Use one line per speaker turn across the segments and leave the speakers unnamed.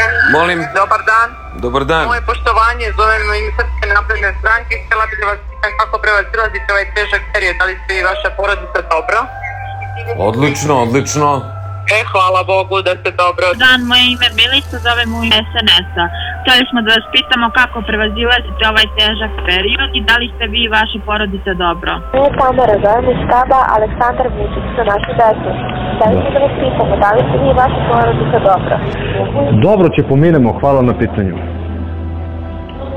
Ja,
Molim?
Dobar dan.
Dobar dan.
Moje poštovanje, zovem u ime Srpske napredne stranke. Htjela bih da vas pitam kako prevazilazite ovaj težak period. Da li ste i vaša porodica dobro?
Odlično, odlično.
E, hvala Bogu da ste dobro.
Dobar dan, moje ime je Milica, zovem u ime SNS-a. Htjeli smo da vas pitamo kako prevazilazite ovaj težak period i da li ste vi i vaša porodica dobro.
Mi je Tamara, zovem iz štaba Aleksandar Vučić za našu decu. Da li da vas pitamo, da li ste vi i vaša porodica dobro?
Dobro će pominemo, hvala na pitanju.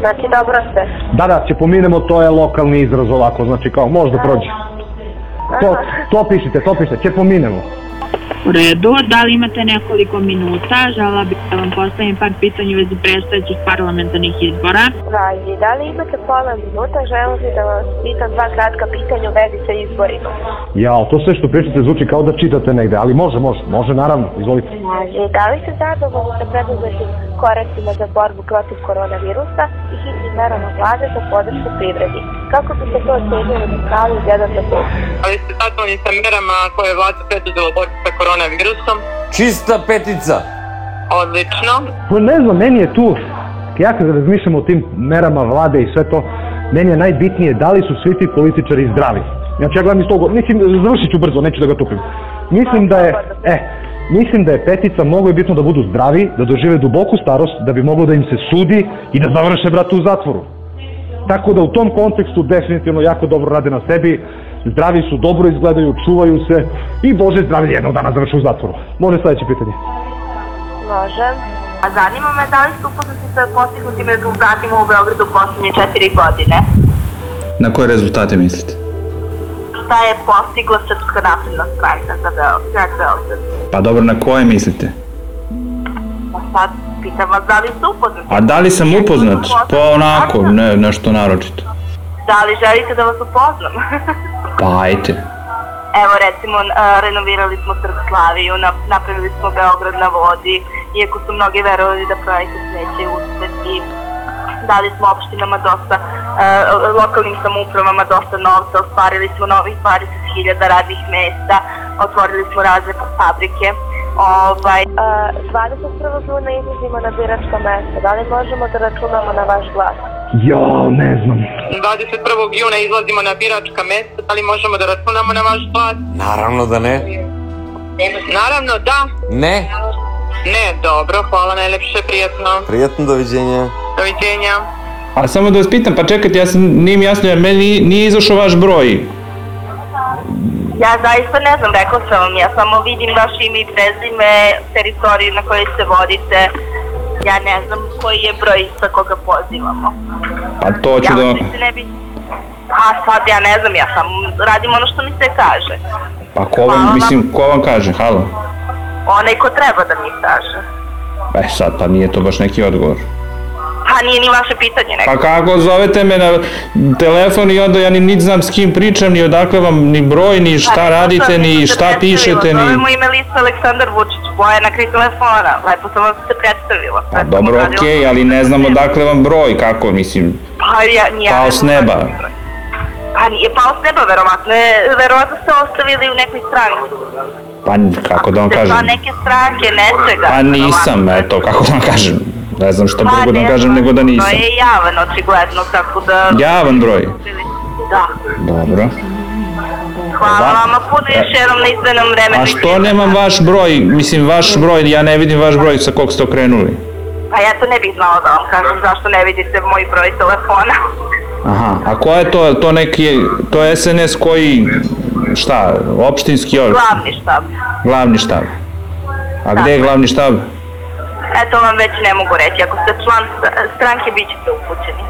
Znači, dobro ste.
Da, da, će pominemo, to je lokalni izraz ovako, znači kao možda prođe. To, to pišite, to pišite, će pominemo.
U redu, da li imate nekoliko minuta? Žela bih da vam postavim par pitanja u vezi predstojećih parlamentarnih izbora.
Važi, da li imate pola minuta? Želim bi da vas pitam dva kratka pitanja u vezi sa izborima.
Jao, to sve što pričate zvuči kao da čitate negde, ali može, može, može naravno, izvolite.
Važi, da li ste zadovoljni sa preduzetim koracima za borbu protiv koronavirusa i hitnim merama vlade za podršku privredi? Kako biste to ocenili na skali od 1 do 5?
Ali Da ste zadovoljni sa merama koje je vlada preduzela u borbi sa koronavirusom?
Čista petica.
Odlično.
Pa ne znam, meni je tu, ja kad razmišljam o tim merama vlade i sve to, meni je najbitnije da li su svi ti političari zdravi. Znači ja gledam iz toga, mislim, završit ću brzo, neću da ga tupim. Mislim da je, e, mislim da je petica mnogo je bitno da budu zdravi, da dožive duboku starost, da bi moglo da im se sudi i da završe brate u zatvoru. Tako da u tom kontekstu definitivno jako dobro rade na sebi, zdravi su, dobro izgledaju, čuvaju se i Bože zdravlje jednog dana završe u zatvoru. Može sledeće pitanje.
Može.
A zanima me da li ste upoznati sa postignutim rezultatima u Beogradu poslednje četiri godine?
Na koje rezultate mislite?
Šta je postigla Srpska napredna stranka za Beograd? grad Beograd?
Pa dobro, na koje mislite?
Pa sad pitam vas da li ste upoznati?
A da li sam upoznat? Pa onako, ne, nešto naročito.
Da li želite da vas upoznam?
Pa ajte.
Evo recimo, e, renovirali smo Srpslaviju, nap- napravili smo Beograd na vodi, iako su mnogi verovali da projekat neće uspeti. Dali smo opštinama dosta, e, lokalnim samoupravama dosta novca, ostvarili smo novih 20.000 radnih mesta, otvorili smo razne fabrike. Ovaj,
A, 21. juna izlazimo na biračko mesto. Da li možemo da računamo na vaš glas?
Jao, ne znam.
21. juna izlazimo na biračka mesta. Da li možemo da računamo na vaš glas?
Naravno da ne.
Naravno, da.
Ne.
Ne, dobro. Hvala najlepše, prijatno.
Prijatno doviđenja.
Doviđenja.
A samo da vas pitam, pa čekajte, ja sam, nije mi jasno, jer meni nije izašao vaš broj.
ja zaista ne znam, rekao sam vam, ja samo vidim vaše ime i prezime, teritoriju na kojoj se vodite, ja ne znam koji je broj sa koga pozivamo.
Pa to ću
Ja
da...
se ne bi... A sad ja ne znam, ja sam radim ono što mi se kaže.
Pa ko vam, mislim, ko vam kaže, halo?
Onaj ko treba da mi kaže.
E sad, pa nije to baš neki odgovor.
Pa nije ni vaše pitanje neko.
Pa kako zovete me na telefon i onda ja ni niti znam s kim pričam, ni odakle vam, ni broj, ni Pa šta radite, ni šta pišete, ni...
Zovemo ime lista Aleksandar Vučić, Bojana Kri telefona. Lepo sam vam se predstavila.
Pa
Sad sam
dobro,
odradila
okej,
ono što
ali
sam
ne znam
htjela.
odakle vam broj, kako, mislim,
Pa ja, ja
pao s neba.
Pa nije pao s neba, verovatno je, verovatno ste ostavili u nekoj stranci.
pa kako da vam
Ste da-
kažem,
član neke stranke, nečega.
pa nisam,
verovatno.
eto, kako da vam kažem, ne znam šta drugo da vam
Pa, ne
kažem
znam,
nego da
To
nisam.
je javan, očigledno, tako da...
Javan broj,
Da.
dobro,
Hvala
Va-
vama puno još jednom na izdanom vremenu.
Da. E. a što nemam vaš broj, mislim, vaš broj, ja ne vidim vaš broj sa kog ste okrenuli.
Pa ja to ne bih znala da vam kažem zašto ne vidite moj broj telefona.
Aha, a ko je to, je li to neki, to je SNS koji, šta, opštinski, ovaj,
Glavni Da. štab.
glavni štab? A gde je glavni štab?
Eto vam već ne mogu reći, ako ste član st- stranke bit ćete upućeni.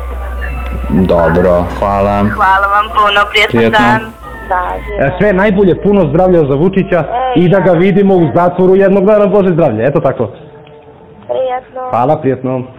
Dobro, hvala.
Hvala vam puno, prijetan
Prijetno.
dan.
Važi.
E, sve najbolje, puno zdravlja za Vučića i da ga vidimo u zatvoru jednog dana, Bože zdravlje, eto tako.
Prijetno.
Hvala, prijetno.